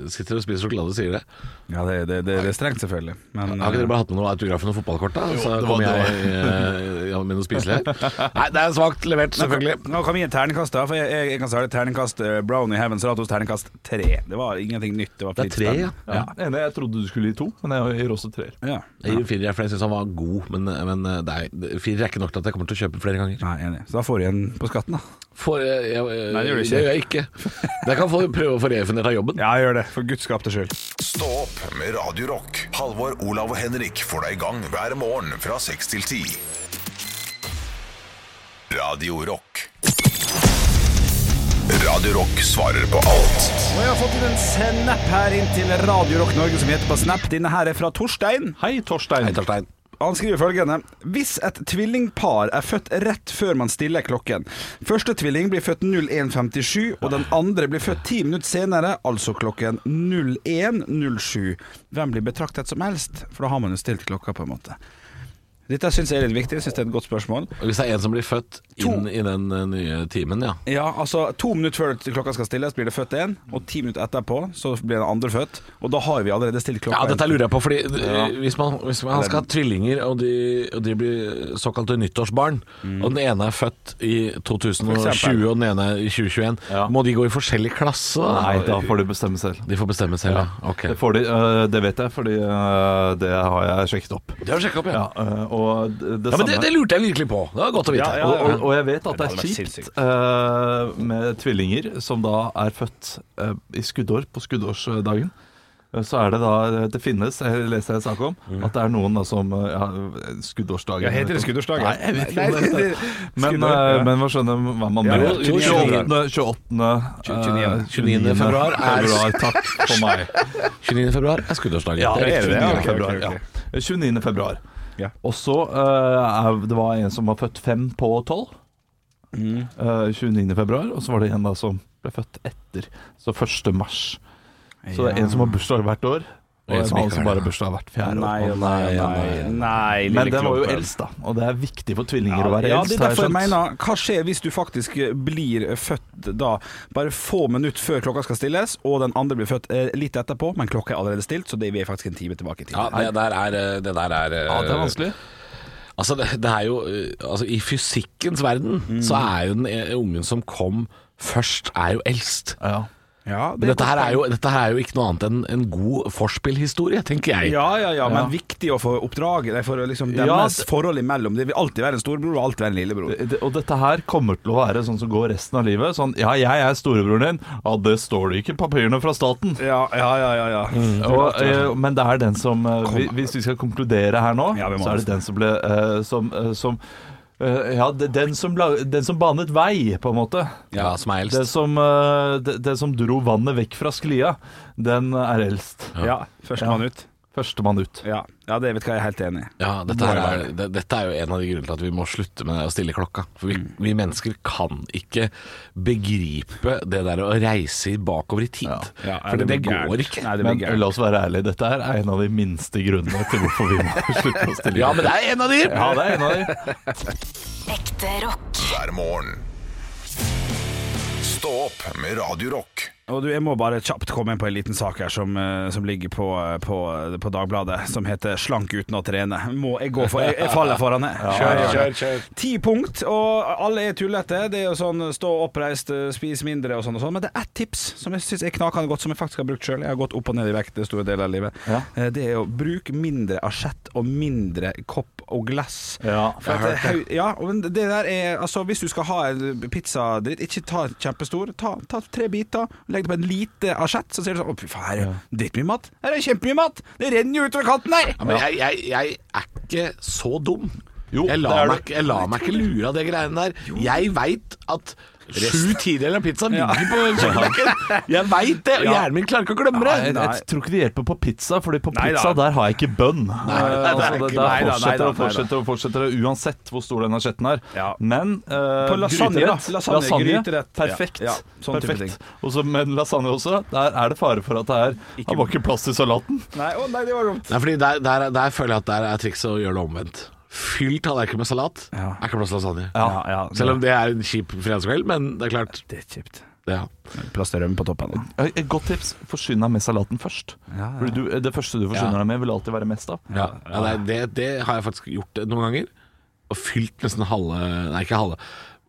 S6: Si, sitter og spiser sjokolade og sier det.
S5: Ja, det, det, det, det er strengt, selvfølgelig. Men
S6: Har ikke dere bare hatt med noe autografen og fotballkort, da? Så
S4: det var-
S6: kommer
S4: det
S6: jeg eh, ja, med noe spiselig
S5: [LAUGHS]
S6: her. Nei, det er svakt levert, selvfølgelig.
S5: Nå kan vi gi terningkast, da. For jeg, jeg, jeg kan si det terningkast eh, Brownie Heaven Stratos terningkast tre. Det var ingenting nytt. Det var
S6: Det er tre, ja.
S4: Ja. Enig, jeg trodde du skulle gi to, men jeg gir også treer.
S5: ja.
S6: Jeg gir en firer, for jeg syns han var god, men, men eh, det er, det- firer er ikke nok til at jeg kommer til å kjøpe den flere ganger.
S5: Nei, enig. Så da får du igjen på skatten, da.
S6: For, eh, jeg, jeg,
S5: Nei, det gjør du
S6: det
S5: ikke.
S6: gjør jeg ikke. Men Jeg kan få, prøve å få refundert av jobben.
S5: Ja, gjør det. For guds skapte skyld.
S1: Stå opp med Radio Rock. Halvor, Olav og Henrik får deg i gang hver morgen fra 6 til 10. Radio Rock. Radio Rock svarer på alt.
S5: Og jeg har fått inn en snap her inn til Radio Rock Norge som heter på Snap. Denne her er fra Torstein.
S4: Hei, Torstein.
S6: Torstein.
S5: Han skriver følgende Hvis et tvillingpar er født rett før man stiller klokken Første tvilling blir født 01.57 Og den andre blir født 10 minutter senere Altså klokken 01.07 Hvem blir betraktet som helst? For da har man jo stilt klokka på en måte Dette synes jeg er litt viktig Jeg synes det er et godt spørsmål
S6: Hvis det er en som blir født inn i den eh, nye timen, ja.
S5: Ja, altså to minutter før klokka skal stilles Blir det født en Og ti minutter etterpå Så blir den andre født Og da har vi allerede stilt klokka
S6: Ja, dette
S5: en.
S6: lurer jeg på, fordi eh, hvis, man, hvis man skal ha tvillinger, og de, og de blir såkalte nyttårsbarn,
S4: Mm.
S6: og den ene er født i 2020 og den ene er i 2021,
S4: Ja.
S6: må de gå i forskjellig klasse? da?
S4: Nei, da får du bestemme selv.
S6: De får bestemme selv, ja. Ok.
S4: Det, får de, øh, det vet jeg, fordi øh, det har jeg sjekket opp.
S6: Det har du sjekket opp, ja.
S4: Ja, øh, og det, det
S6: Ja, men
S4: samme
S6: det, det lurte jeg virkelig på. Det var godt å vite.
S4: ja, ja, Og, og, og jeg vet at det
S5: Det
S4: er
S5: hadde vært
S4: kjipt øh, med tvillinger som da er født øh, i skuddår, på skuddårsdagen. Eh, Så er det da Det finnes, jeg leser jeg en sak om,
S6: Mm.
S4: at det er noen da som øh, ja, Skuddårsdagen
S5: Ja, heter det skuddårsdag?
S4: Nei, jeg vet ikke om det heter det. Men,
S5: Skuddår,
S4: øh,
S5: ja.
S4: men man skjønner hva man
S5: Ja,
S4: mener.
S5: jo, jo,
S4: 28. 28. øh,
S5: 29.
S6: 29. februar er-
S4: februar. Takk for meg.
S6: 29. februar er skuddårsdagen.
S4: Ja, det er det. 29.
S5: ja, ok,
S4: februar.
S5: ok, ok.
S4: Ja. 29. Eh, februar.
S5: Ja.
S4: Og så eh, er- det var en som var født fem på tolv.
S5: Mm.
S4: eh, 29. februar, og så var det en da som ble født etter. Så 1. mars. Så det er en som har bursdag hvert år, og en annen som bare har bursdag hvert fjerde år.
S5: Nei, nei, nei, nei lille
S4: Men den var jo
S5: klumpen.
S4: eldst, da. Og det er viktig for tvillinger å være
S5: ja,
S4: eldst.
S5: det er
S4: har jeg
S5: derfor jeg
S4: skjønt.
S5: mener Hva skjer hvis du faktisk eh, blir født da bare få minutter før klokka skal stilles, og den andre blir født eh, litt etterpå, men klokka er allerede stilt, så det vi er faktisk en time tilbake i tid.
S6: Ja, det der er, eh, det der er eh,
S4: Ja, det er vanskelig.
S6: Altså, det, det er jo eh, altså, I fysikkens verden så
S4: Mm.
S6: er jo den eh, ungen som kom først, er jo eldst.
S4: Ja.
S5: Ja,
S6: Men dette her, er jo, dette her er jo ikke noe annet enn en god forspillhistorie, tenker jeg.
S5: Ja, ja, ja, men viktig å få oppdraget. Det er for liksom
S4: Ja,
S5: deres
S4: det- Eh,
S5: forhold imellom. Det vil alltid være en storbror og alltid være en lillebror.
S4: Det- det- Og dette her kommer til å være sånn som går resten av livet. Sånn ja, jeg er storebroren din. Ja, det står det ikke i papirene fra staten.
S5: Ja, ja, ja, ja. ja.
S4: Og, eh, men det er den som eh, vi- Hvis vi skal konkludere her nå,
S5: Ja, vi må
S4: så er det
S5: nesten.
S4: den som ble eh, Som, eh, som eh, Ja, det- den som, la- den som banet vei, på en måte.
S6: Ja, som er
S4: Det
S6: eldst.
S4: som, eh, det, det som dro vannet vekk fra sklia, den er eldst.
S5: ja Førstemann ut.
S4: Førstemann ut.
S5: Ja. ja, det vet hva jeg er helt enig i.
S6: Ja, dette, her er, det- dette er jo en av de grunnene til at vi må slutte med det å stille klokka. For vi, vi mennesker kan ikke begripe det der å reise i- bakover i tid.
S5: Ja,
S6: for det, det
S5: blir gærent.
S6: går ikke.
S5: Nei, det
S4: Men
S5: blir
S4: la
S5: gærent.
S4: oss være ærlige, dette her er en av de minste grunnene til hvorfor vi må [LAUGHS] slutte å stille.
S6: Ja, men det er en av de!
S4: Ja, det er en av de.
S2: Ekte rock.
S1: hver morgen. Stå opp med Radio Rock.
S5: Og du, jeg må bare kjapt komme inn på en liten sak her som, eh, som ligger på, eh, på, eh, på Dagbladet, som heter 'Slank uten å trene'. Må jeg gå for Jeg, jeg faller foran, jeg. Kjør, kjør, kjør. Ti punkt, og alle er tullete. Det er jo sånn stå oppreist, eh, spis mindre og sånn og sånn. Men det er ett tips som jeg syns er knakende godt, som jeg faktisk har brukt sjøl. Jeg har gått opp og ned i vekt i store deler av livet.
S4: Ja.
S5: Eh, Det er å bruke mindre asjett og mindre kopp og glass.
S4: Ja,
S5: For at det, høy- ja, men det der er Altså, hvis du skal ha en pizzadritt, ikke ta en kjempestor. Ta, ta tre biter, legg det på en lite asjett, så ser du sånn Å, fy faen, her er jo drittmye mat. Her er det kjempemye mat! Det renner jo utover kanten her!
S6: Ja, men jeg, jeg, jeg er ikke så dum. jeg
S4: det
S6: lar
S4: er
S6: meg, ikke- jeg lar meg ikke lure av det greiene der. Jeg veit at sju tideler av pizzaen ligger på kjøkkenbenken. Jeg veit det, og hjernen min klarer ikke å glemme
S4: Nei, jeg,
S6: det.
S4: jeg tror ikke det hjelper på pizza, Fordi på
S5: Nei da.
S4: pizza der har jeg ikke bønn.
S6: det er
S4: Altså,
S6: ikke-
S4: det- der
S5: nei da, nei
S4: fortsetter
S5: da,
S4: og fortsetter og fortsetter det, uansett hvor stor den asjetten er.
S5: Ja.
S4: Men eh,
S5: lasagne, da.
S4: gryterett,
S5: Lasagne,
S4: lasagne,
S5: gryterett.
S4: perfekt.
S5: Ja, ja, sånn type
S4: perfekt. Og så- men lasagne også, der er det fare for at det er Det var ikke plass til salaten.
S5: Nei, å nei, det var dumt.
S6: Nei, fordi der, der, der føler jeg at der er trikset å gjøre det omvendt. Fyll tallerkenen med salat.
S5: Ja.
S6: Er ikke plass til lasagne.
S5: Ja, ja.
S6: Selv om det er en kjip fredagskveld, men det er klart
S5: Det er kjipt.
S6: det, ja.
S5: Plass til rømme på toppen. da.
S4: Eh, Et godt tips forsyn deg med salaten først.
S5: Ja, ja.
S4: Fordi Du, det første du forsyner
S6: Ja.
S4: deg med, vil alltid være mest av.
S6: Ja, ja det, det, det har jeg faktisk gjort noen ganger. Og fylt nesten halve Nei, ikke halve.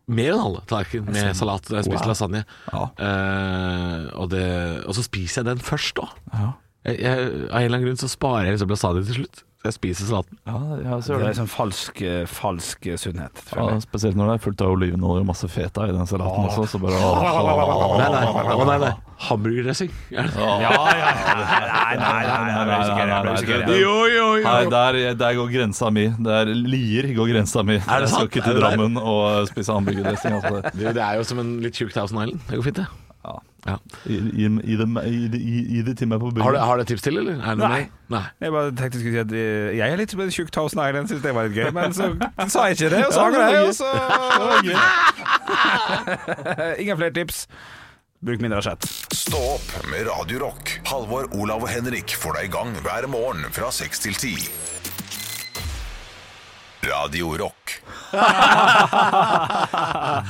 S6: Mer enn halve tallerken med salat da jeg spiste lasagne.
S4: Ja.
S6: Eh, og, det, og så spiser jeg den først, da.
S4: Ja.
S6: Jeg, jeg, av en eller annen grunn så sparer jeg liksom lasagne til slutt. Så jeg spiser salaten.
S4: Ja, ja, så
S5: Det
S4: gjør
S5: er
S4: det.
S5: liksom falsk, eh, falsk eh, sunnhet.
S4: Ja,
S5: føler jeg.
S4: spesielt når det er fullt av olivenolje og masse feta i den salaten også. Så
S5: [LAUGHS]
S4: bare, Åh.
S6: Nei, nei, å, nei, nei. Hamburgerdressing. Er det-
S5: Nei, nei, nei, nei, nei, nei, nei, nei,
S4: nei,
S5: nei,
S4: nei.
S5: nei.
S4: Nei, der, der går grensa mi. Der Lier går grensa mi.
S6: det
S4: jeg skal
S6: sant?
S4: ikke
S6: Er
S4: til
S6: det der?
S4: Drammen og eh, spise hamburgerdressing. Altså.
S6: Du, det er jo som en litt tjukk Thousand Island. Det går fint, det. Ja.
S4: Gi, gi, gi, det, meg- gi, det- gi, gi det til meg på
S6: Har, du,
S4: byen.
S6: har du et tips til, eller? Er det noe
S5: Nei.
S6: mer? nei.
S5: Jeg bare tenkte jeg skulle si at eh, jeg er litt som en tjukk Thousand Island, synes det var litt gøy, men så [LAUGHS] sa jeg ikke det, og
S4: Ja,
S5: så
S4: det
S5: angrer
S4: var gøy.
S5: jeg, og så [LAUGHS] Eh, Ingen flere tips. Bruk mindre asjett.
S1: Stå opp med Radio Rock. Halvor, Olav og Henrik får deg i gang hver morgen fra 6 til 10. Radio Rock.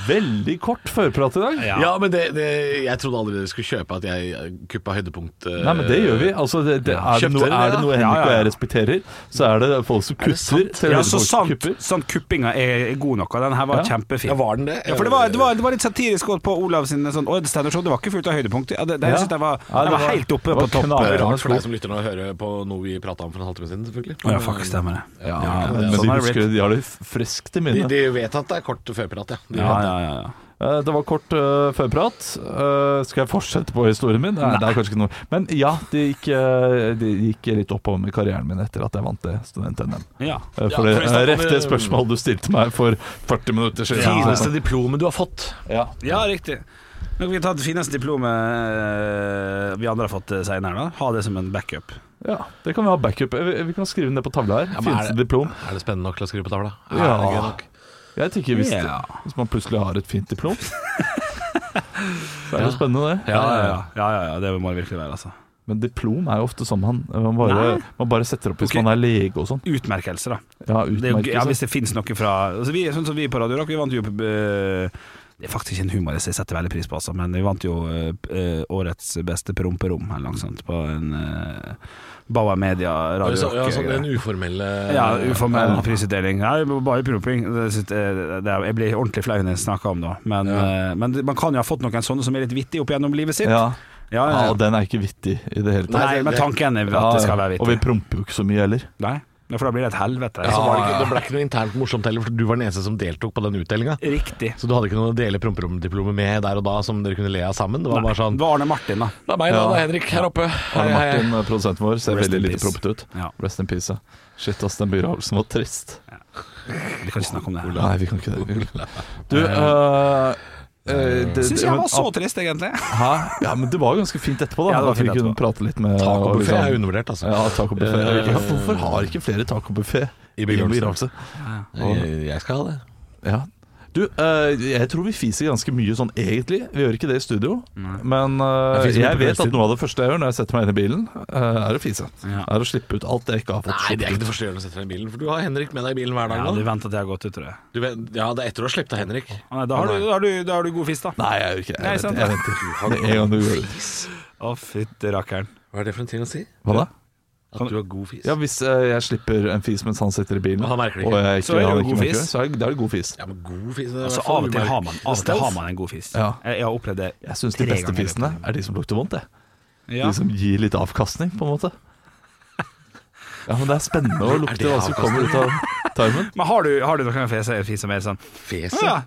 S4: Veldig kort førprat i dag.
S6: Ja, men det, det, jeg trodde aldri dere skulle kjøpe at jeg kuppa høydepunkt. eh,
S4: Nei, men det gjør vi. Altså, det, det, er, det
S6: Kjøpte
S4: noe,
S6: dere det,
S4: er det noe
S6: da?
S4: Henrik
S5: Ja,
S4: og
S5: ja, ja.
S4: jeg respekterer, så er det folk som kutter. til
S5: Ja,
S4: høyre
S5: så
S4: folk som
S5: sant,
S4: kupper.
S5: sant kuppinga er, er god nok, og den her var kjempefin.
S6: Ja, var den det?
S5: Ja, for det var, det, var, det var litt satirisk også på Olav sin sånn «Oi, det Steinar Show, det var ikke fullt av høydepunkt. Ja, det, det, jeg synes det var,
S4: Ja, det
S5: det var
S4: var-
S5: helt oppe
S4: det var
S5: på toppen.
S6: Det er
S4: knall.
S6: rart for deg som lytter nå å høre på noe vi prata om for en halvtime siden, selvfølgelig.
S5: Ja, faktisk stemmer det. Ja,
S4: Men de,
S5: sånn er det
S4: husker,
S5: blitt.
S4: det, de har det friskt i
S6: De,
S4: minnet.
S6: de vet at det er kort førprat, ja. De
S5: Ja,
S6: vet det.
S5: ja, ja, ja.
S4: Eh, Det var kort eh, førprat. Eh, skal jeg fortsette på historien min? Nei, det er kanskje ikke noe Men ja, det gikk, eh, det gikk litt oppover med karrieren min etter at jeg vant det student-NM.
S5: Ja.
S4: Eh, For
S6: Ja,
S4: det
S6: for vi snakker
S4: er
S6: om
S4: rett det
S6: det-
S4: spørsmålet du stilte meg for 40 minutter
S6: Det
S4: siden.
S6: fineste diplomet du har fått.
S4: Ja.
S5: Ja, riktig. Nå kan vi ta det fineste diplomet eh, vi andre har fått eh, senere. Da. Ha det som en backup.
S4: ja, det kan vi ha backup. Eh, Vi vi kan skrive ned på tavla her.
S6: Ja, men er
S4: fineste
S6: det-
S4: diplom.
S6: Er det spennende nok til å skrive på tavla? Er
S4: Ja.
S6: det gøy nok?
S4: Jeg tenker hvis,
S5: Ja.
S4: hvis man plutselig har et fint diplom Så er det jo spennende, det.
S5: Ja, ja, ja. ja, ja, ja. Det må det virkelig være, altså.
S4: Men diplom er jo ofte sånn man, man, bare, man bare setter opp hvis
S5: Ok.
S4: man er lege og sånn.
S5: Utmerkelser, da.
S4: Ja,
S5: Det er jo, gøy- ja,
S4: utmerkelse.
S5: hvis det finnes noe fra altså, vi, Sånn som vi på Radio Rock, vi vant jo eh, Det er faktisk ikke en humorist jeg setter veldig pris på, altså, men vi vant jo eh, eh, årets beste promperom eller noe sånt på en uh, Bauer Media
S6: Ja,
S5: Radio
S6: så,
S5: Rock. eh,
S6: ja, sånn den uformelle
S5: Ja, uformell prisutdeling. Nei, bare promping. Det synes jeg- det er- Jeg blir ordentlig flau når jeg snakker om det. Men, eh, men man kan jo ha fått noen sånne som er litt vittige opp gjennom livet sitt.
S4: ja.
S5: Ja,
S4: ja,
S5: ja,
S4: og den er ikke vittig i det hele tatt.
S5: Nei, men tanken er at det skal være
S4: Og vi
S5: vittig.
S4: promper jo ikke så mye heller.
S5: Nei, for da blir det et helvete.
S6: Så var det, ikke, det ble ikke noe internt morsomt heller, for du var den eneste som deltok på den utdelinga.
S5: Riktig.
S6: Så du hadde ikke noen å dele promperomdiplomet med der og da som dere kunne le av sammen? Det var bare sånn
S5: Det var Arne Martin, da.
S6: La meg da, det er Henrik her oppe. Hei, hei,
S4: Arne
S6: hei.
S4: Martin, produsenten eh, vår, ser
S5: Rest
S4: veldig
S5: in
S4: lite
S5: peace.
S4: prompet ut.
S5: Ja.
S4: Rest in peace. ja. Shit, ass, den begravelsen var trist.
S5: Vi kan ikke snakke om det.
S4: Nei, vi kan ikke det. Vi kan ikke det. Du, øh, øh, det-
S5: Syns eh, jeg
S4: men- ah,
S5: var så trist, egentlig.
S4: Hæ? Ja, men det var jo ganske fint etterpå, da.
S5: Ja, det var
S4: At vi
S5: fint
S4: kunne
S5: etterpå.
S4: prate litt med
S6: Tacobuffé
S4: liksom-
S6: er undervurdert, altså.
S4: Ja, tacobuffé.
S6: Eh,
S4: Ja, hvorfor har ikke flere tacobuffé
S6: I begravelse. Jeg, jeg skal ha det.
S4: Ja. Du, eh, jeg tror vi fiser ganske mye sånn egentlig. Vi gjør ikke det i studio. Men eh,
S6: Jeg fiser mye
S4: jeg,
S6: på
S4: vet
S6: kveldstid.
S4: at noe av det første jeg gjør når jeg setter meg inn i bilen, eh, er å fise. Er å slippe ut alt jeg ikke har fått
S6: Nei, det er
S4: sluppet
S6: ikke det
S4: ut.
S6: første du gjør når du setter deg i bilen, for du har Henrik med deg i bilen hver dag
S5: Ja, du
S6: nå.
S5: venter til jeg har gått ut, tror jeg.
S6: Du vet- Ja, det er etter du har sluppet av Henrik.
S5: Ah, Nei, da, har du, da, har du, da har du god fisk, da.
S4: Nei, jeg gjør ikke det.
S5: Nei,
S4: Jeg,
S5: sant.
S4: venter- jeg venter. Med en gang du gjør det.
S5: Å, fytti rakkeren.
S6: Hva er det for en ting å si?
S4: Hva da?
S6: At du har god fis.
S4: Ja, Hvis eh, jeg slipper en fis mens han sitter i bilen,
S6: Og han merker det ikke.
S4: og jeg
S5: Så er det
S4: han
S5: jo
S4: ikke
S5: god
S4: merker
S5: fis.
S4: det, så er det, da er det god fis.
S6: Ja, men god fis det er i hvert
S5: Altså,
S6: fall
S5: av og til
S6: umerk-
S5: har man, av og til
S6: Stealth.
S5: har man en god fisk.
S4: Ja.
S5: Jeg, jeg har opplevd det.
S4: Jeg syns de
S5: tre
S4: beste
S5: ganger i
S4: fisene
S5: løpet av
S4: er de som lukter vondt. Det.
S5: livet. Ja.
S4: De som gir litt avkastning, på en måte. Ja, men Det er spennende å
S6: Er
S4: lukte
S6: det
S4: hva som kommer ut av tarmen.
S5: Men har du, har du noen fese- fis som er sånn
S6: Fjeset.
S5: «Å ja.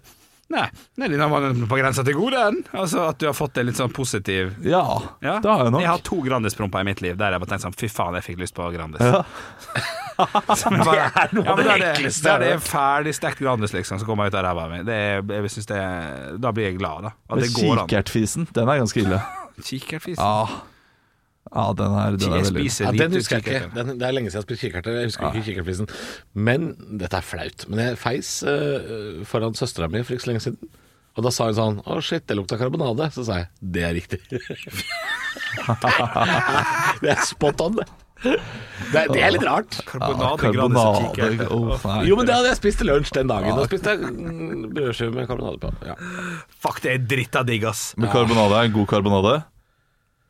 S5: Nei, nei, den var på grensa til god, den. Altså at du har fått en litt sånn positiv
S4: Ja,
S5: ja.
S4: det har jeg nok.
S5: Jeg har to Grandis-promper i mitt liv der jeg bare tenkte sånn Fy faen, jeg fikk lyst på Grandis.
S4: Ja. [LAUGHS]
S5: Som jeg bare- Ja, [LAUGHS] men
S6: av det
S5: da er det
S6: ekleste
S5: da er
S6: jeg
S5: det
S6: har
S5: en ferdig stekt Grandis liksom som kommer ut av ræva mi. Det er- Jeg synes det Da blir jeg glad, da. At
S4: Men
S5: det går an.
S4: Kikertfisen, den er ganske ille.
S5: Kikertfis.
S4: Ja, ja den er, den er
S5: Jeg
S4: veldig
S5: spiser
S6: Ja,
S5: lite
S6: den husker jeg ikke.
S5: kikert.
S6: Den, det er lenge siden jeg har spist kikerter. Jeg husker ikke kikertprisen. Men dette er flaut. Men jeg feis eh, foran søstera mi for ikke så lenge siden. Og da sa hun sånn Å, shit, det lukta karbonade. Så sa jeg det er riktig. [LAUGHS] det er spot on, det. Det er, det er litt rart.
S5: Karbonade, Grandis og
S4: Karbonade
S5: kikert.
S4: Åh, nei.
S6: Jo, men det hadde jeg spist til lunsj den dagen. Da spiste jeg mm, brødskive med karbonade på. Ja.
S5: Fuck, det er dritta digg, ass.
S4: Men karbonade er en god karbonade?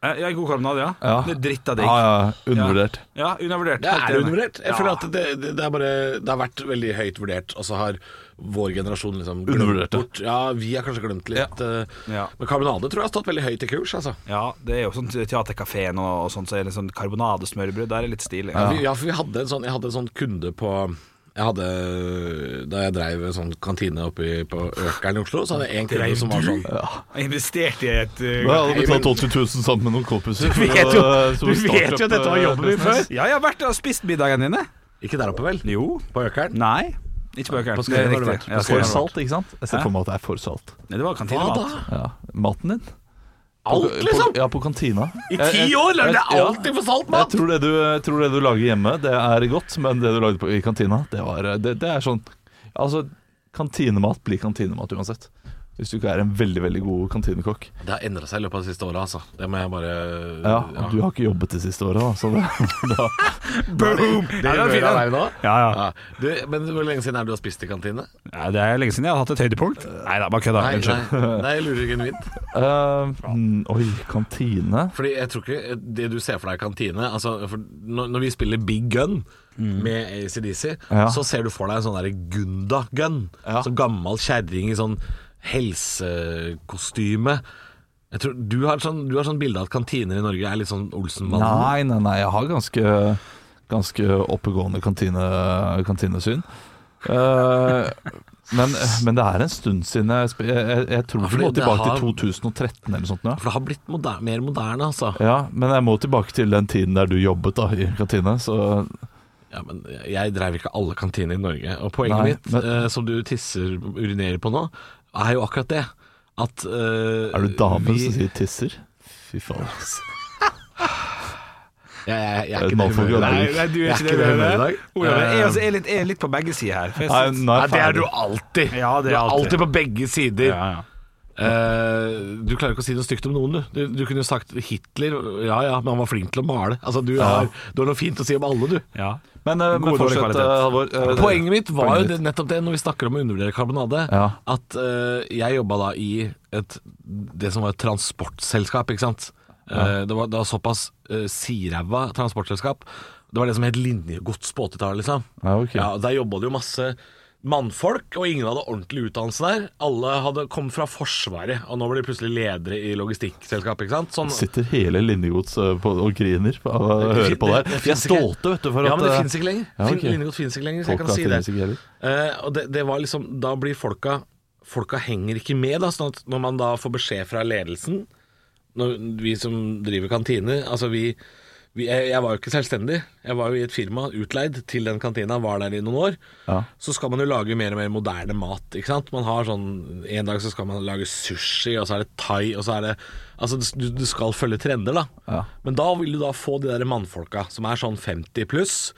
S5: Eh, Ja, god karbonade, ja.
S4: Ja.
S5: Det er dritta digg.
S4: Ja, ja, undervurdert.
S5: Ja, undervurdert.
S6: Det
S5: Helt
S6: er
S5: enig.
S6: undervurdert. Jeg
S5: Ja.
S6: føler at det, det, det, er bare, det har vært veldig høyt vurdert, og så har vår generasjon liksom glemt
S4: Undervurdert, ja.
S6: bort. Ja, vi har kanskje glemt litt. eh,
S5: Ja.
S6: Men karbonade tror jeg har stått veldig høyt i kurs, altså.
S5: Ja, det er jo sånn teaterkafeen og, og sånn, så er det sånn karbonadesmørbrød. Der er det litt stilig.
S6: Ja, vi, ja for vi hadde en sånn, jeg hadde en sånn kunde på jeg hadde, Da jeg dreiv en sånn kantine oppe i- på Økeren i Oslo, så hadde jeg en kunde
S5: Dreiv
S6: som var sånn
S5: Jeg investerte i et [LAUGHS] uh,
S4: Jeg hadde betalt 80 000 sammen med noen kompiser.
S5: Du vet jo, du vet jo at dette var
S4: eh,
S5: jobben min før. Ja, jeg har vært og spist middagen dine.
S6: Ikke der oppe, vel?
S5: Jo.
S6: På Økeren?
S5: Nei. Ikke på økeren.
S6: På Skøyen har du vært.
S5: Ja,
S6: På
S4: For
S5: Skøyen har du vært.
S4: salt, ikke sant? Jeg ser for meg at det er for salt.
S5: Nei, det
S6: Hva
S5: var
S6: da?
S5: kantinemat.
S4: Ja. Maten din?
S6: Alt, liksom?
S4: På, ja, på kantina.
S6: I ti år lagde jeg
S4: Ja.
S6: alltid for salt
S4: Jeg
S6: mat!
S4: tror det, du, jeg tror det du lager hjemme, det er godt, men det du lagde på, i kantina, det, var, det, det er sånn Altså, kantinemat blir kantinemat uansett. Hvis du ikke er en veldig veldig god kantinekokk.
S6: Det har endra seg i løpet av det siste året, altså. Det må jeg bare
S4: Ja, Du har ikke jobbet det siste året, da, så det, [LAUGHS] da
S5: Boom!
S6: Det
S5: Ja, den
S6: gjør
S5: var
S6: jeg
S5: fin, den.
S6: deg nå.
S5: Ja, ja.
S6: Ja. Du, men hvor lenge siden er det du har spist i kantine?
S5: ja. Det er lenge siden jeg har hatt et høydepunkt. Nei da, bare kødda.
S6: Nei, nei,
S5: Unnskyld.
S6: nei jeg lurer genuint.
S4: Eh, mm, Oi, kantine
S6: Fordi jeg tror ikke det du ser for deg i kantine altså, for når, når vi spiller Big Gun med ACDC,
S4: Mm. Ja.
S6: så ser du for deg en sånn derre Gunda-gun.
S4: Ja.
S6: Sånn gammel kjerring i sånn helsekostyme. Jeg tror, du, har sånn, du har sånn bilde av at kantiner i Norge er litt sånn Olsenmannen.
S4: Nei, nei, nei, jeg har ganske Ganske oppegående kantine, kantinesyn. Eh, men, men det er en stund siden jeg sp- Jeg, jeg, jeg tror
S6: fordi
S4: vi må
S6: det
S4: tilbake
S6: har-
S4: til 2013 eller sånt. nå, Ja.
S6: For det har blitt moder mer moderne, altså.
S4: Ja, men jeg må tilbake til den tiden der du jobbet da, i kantine. Så
S6: Ja, men jeg dreiv ikke alle kantiner i Norge. Og poenget
S4: Nei,
S6: mitt,
S4: men-
S6: eh, som du tisser urinerer på nå, er jo akkurat det. At eh,
S4: er du dame
S6: vi-
S4: som sier tisser? Fy faen. ass.
S6: Jeg, jeg, jeg er
S4: Eh,
S6: ikke
S4: man får
S6: med humøret.
S4: ikke gjøre
S9: Nei,
S4: det.
S9: nei, du er
S6: Jeg er
S9: ikke
S6: ikke
S9: det.
S6: med
S9: du
S6: humøret
S9: er
S6: i
S9: det.
S6: dag.
S9: Olav, jeg, er
S5: altså-
S9: også- jeg er litt, jeg er litt på begge sider her. For jeg
S4: Nei,
S9: synes-
S4: nå er
S6: Nei,
S4: jeg
S6: det er du
S4: ferdig.
S6: alltid.
S9: Ja, det er
S6: du er
S9: alltid.
S6: alltid på begge sider.
S9: ja, ja.
S6: Eh, du klarer ikke å si noe stygt om noen, du. Du, du kunne jo sagt Hitler. Ja ja, men han var flink til å male. Altså, du, har, du har noe fint å si om alle, du.
S9: Ja.
S4: Men, eh, men
S9: God og dårlig
S4: fortsett,
S9: kvalitet.
S4: eh, Halvor. Eh,
S6: Poenget mitt var
S4: Poenget
S6: jo det, nettopp det, når vi snakker om å undervurdere karbonade,
S4: Ja.
S6: at eh, jeg jobba da i et, det som var et transportselskap, ikke sant. Eh, det, var, det var såpass uh, siræva transportselskap. Det var det som het linjegods på 80-tallet, liksom.
S4: Ja, ok.
S6: der jobba det jo masse mannfolk, og ingen hadde ordentlig utdannelse der. Alle hadde kom fra Forsvaret, og nå ble de plutselig ledere i logistikkselskapet, ikke sant. Sånn,
S4: Sitter hele Lindegods eh, på- og griner av å høre på
S6: det-
S4: der.
S6: det
S4: Vi er
S6: finnes ikke.
S4: stolte, vet du, for
S6: ja,
S4: at
S6: men det
S4: eh,
S6: finnes ikke lenger.
S4: ja,
S6: Fin-
S4: ok.
S6: Lindegods finnes ikke lenger, så
S4: Folk
S6: jeg
S4: da
S6: kan si
S4: finnes
S6: det.
S4: ikke heller.
S6: Eh, og det, det var liksom, da blir folka Folka henger ikke med, da. Sånn at når man da får beskjed fra ledelsen når, Vi som driver kantine Altså, vi, vi jeg, jeg var jo ikke selvstendig. Jeg var jo i et firma, utleid til den kantina, var der i noen år. Så skal man jo lage mer og mer moderne mat, ikke sant. Man har sånn En dag så skal man lage sushi, og så er det thai, og så er det Altså, du, du skal følge trender, da. Men da vil du da få de der mannfolka som er sånn 50 pluss.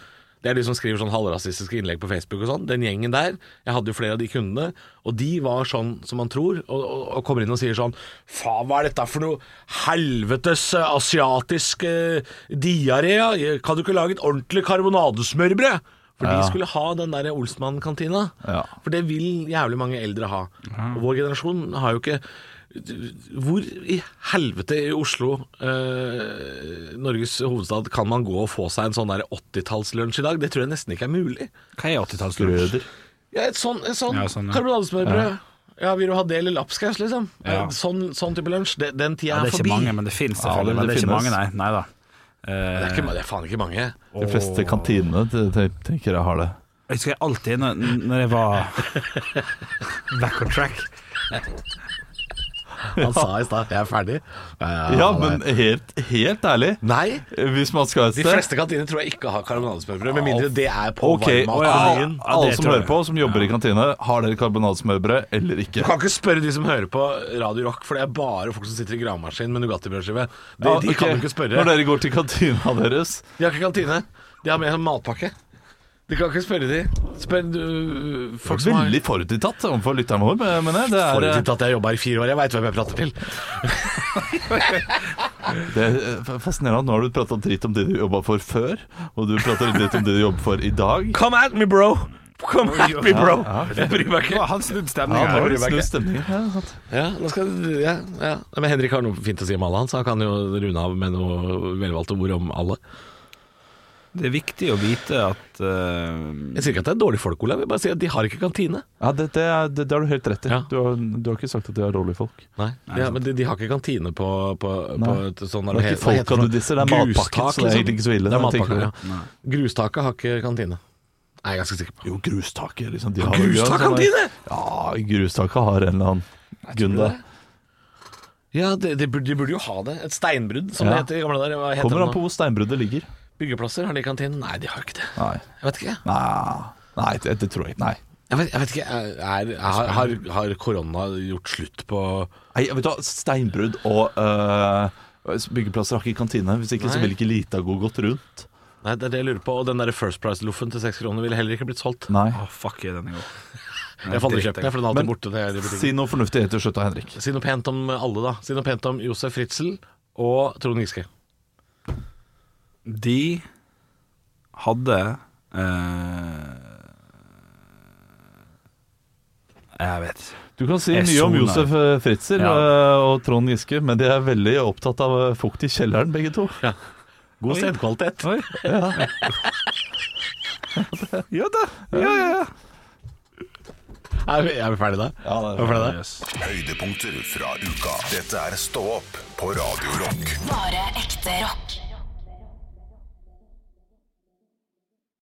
S6: Det er de som skriver sånn halvrasistiske innlegg på Facebook og sånn. Den gjengen der. Jeg hadde jo flere av de kundene, og de var sånn som man tror, og, og, og kommer inn og sier sånn Faen, hva er dette for noe helvetes eh, asiatisk eh, diaré? ja? Kan du ikke lage et ordentlig karbonadesmørbrød? For de skulle ha den der Olsmann-kantina.
S4: Ja.
S6: For det vil jævlig mange eldre ha. Og vår generasjon har jo ikke Hvor i helvete i Oslo, eh, Norges hovedstad, kan man gå og få seg en sånn der 80-tallslunsj i dag? Det tror jeg nesten ikke er mulig.
S9: Hva er 80-tallsgrøder?
S6: Ja, et sånn, et sånn,
S5: Ja, sånn, ja.
S6: karbonadesmørbrød. Ja. vil du ha det eller lapskaus, liksom? Eh, Sånn, sånn type lunsj. Den, den tida
S9: Ja,
S6: er,
S9: det er ikke
S6: forbi.
S9: mange, men det fins
S4: Ja,
S9: selvfølgelig.
S4: det-
S9: men det er
S4: det
S9: ikke
S4: finnes.
S9: mange, nei. nei da.
S6: Det,
S9: Eh,
S6: er ikke, det er faen ikke mange.
S4: De fleste kantinene te- te- tenker jeg har det.
S9: jeg husker jeg alltid når, når jeg var [LAUGHS] back on track
S6: Han sa i stad 'jeg er ferdig'. Ja,
S4: Ja,
S6: nei.
S4: men helt, helt ærlig,
S6: Nei!
S4: hvis man skal et
S6: De
S4: sted
S6: fleste kantiner tror jeg ikke har karbonadesmørbrød, med mindre det er på
S4: Ok,
S6: varmmat.
S4: alle,
S9: Ja, det
S4: alle som
S9: tror jeg.
S4: hører på, som jobber i kantine, har dere karbonadesmørbrød eller ikke?
S6: Du kan ikke spørre de som hører på Radio Rock, for det er bare folk som sitter i gravemaskin med Nugatti-brødskive. De,
S4: Ja,
S6: de kan
S4: ok.
S6: du ikke
S4: Når
S6: spørre.
S4: dere går til kantina deres
S6: De har ikke kantine. De har med en matpakke. De kan ikke spørre de. Spør du, folk som har
S4: Veldig forutinntatt overfor lytteren vår, men- men det er eh,
S6: Forutinntatt at jeg jobba her i fire år. Jeg veit hvem jeg prater til.
S4: Det er eh, fascinerende at nå har du prata dritt om det du jobba for før, og du prater dritt om det du jobber for i dag.
S5: Come at me, bro! Come at me, bro!
S6: Jeg bryr meg ikke.
S9: Å, Han snudde stemninga.
S4: Ja, nå
S9: Ja,
S4: har du snudd stemningen. Ja, sant.
S6: Ja, nå skal, ja, ja. Men Henrik har noe fint å si om alle, han, så han kan jo runde av med noe velvalgte ord om alle.
S9: det er viktig å vite at eh,
S6: Jeg sier ikke at det er dårlige folk, Olav. Jeg bare sier at de har ikke kantine.
S4: ja det, det, er, det, det har du helt rett i.
S6: Ja.
S4: Du, har, du har ikke sagt at de er dårlige folk.
S6: Nei, ja, men de, de har ikke kantine på, på, på
S4: Nei.
S6: et sånn
S4: Det er ikke folka du disser, det er matpakken, så det er egentlig ikke så
S6: liksom. Det er
S4: ille. når du
S6: matpakken,
S4: tenker
S6: ja. Grustaket har ikke kantine. Nei, jeg er ganske sikker
S4: på
S6: på.
S4: det. Jo, grustaket liksom, de har,
S6: grustak
S4: sånn-
S6: kantine?
S4: Ja, grustaket har en eller annen gunde.
S6: Ja, de, de, burde, de burde jo ha det. Et steinbrudd, som
S4: Ja.
S6: det heter i gamle dager. Hva heter
S4: Kommer
S6: det nå?
S4: an på hvor steinbruddet ligger.
S6: Byggeplasser, har de kantine? Nei, de har ikke det.
S4: Nei,
S6: Jeg vet ikke.
S4: nei, nei det, det tror jeg ikke. Nei.
S6: Jeg vet, jeg vet ikke, er, er, har, har, har korona gjort slutt på
S4: Nei, vet du hva, steinbrudd og øh, byggeplasser har ikke kantine. Hvis ikke
S6: Nei.
S4: så ville ikke Litago gått rundt.
S6: Nei, det er det jeg lurer på. Og den der First Price-loffen til seks kroner ville heller ikke blitt solgt.
S4: Nei.
S9: Å, fuck jeg er denne gangen.
S6: Jeg får aldri kjøpt den, for den er alltid
S4: Men-
S6: borte. når jeg er i butikken.
S4: Si noe fornuftig til slutt da, Henrik.
S6: Si noe pent om alle, da. Si noe pent om Josef Fritzl og Trond Giske.
S9: De hadde eh, Jeg vet ikke.
S4: Du kan si
S9: Jeg
S4: mye om
S9: soner.
S4: Josef eh, Fritzl
S9: Ja.
S4: eh, og Trond Giske, men de er veldig opptatt av eh, fukt i kjelleren, begge to.
S6: God stenkvalitet.
S9: [LAUGHS] Ja da. Ja, ja, ja.
S6: Er vi, er vi ferdige da? Ja, det er vi ferdige da?
S1: Høydepunkter fra uka. Dette er Stå opp på Radio Rock.
S2: Bare ekte rock.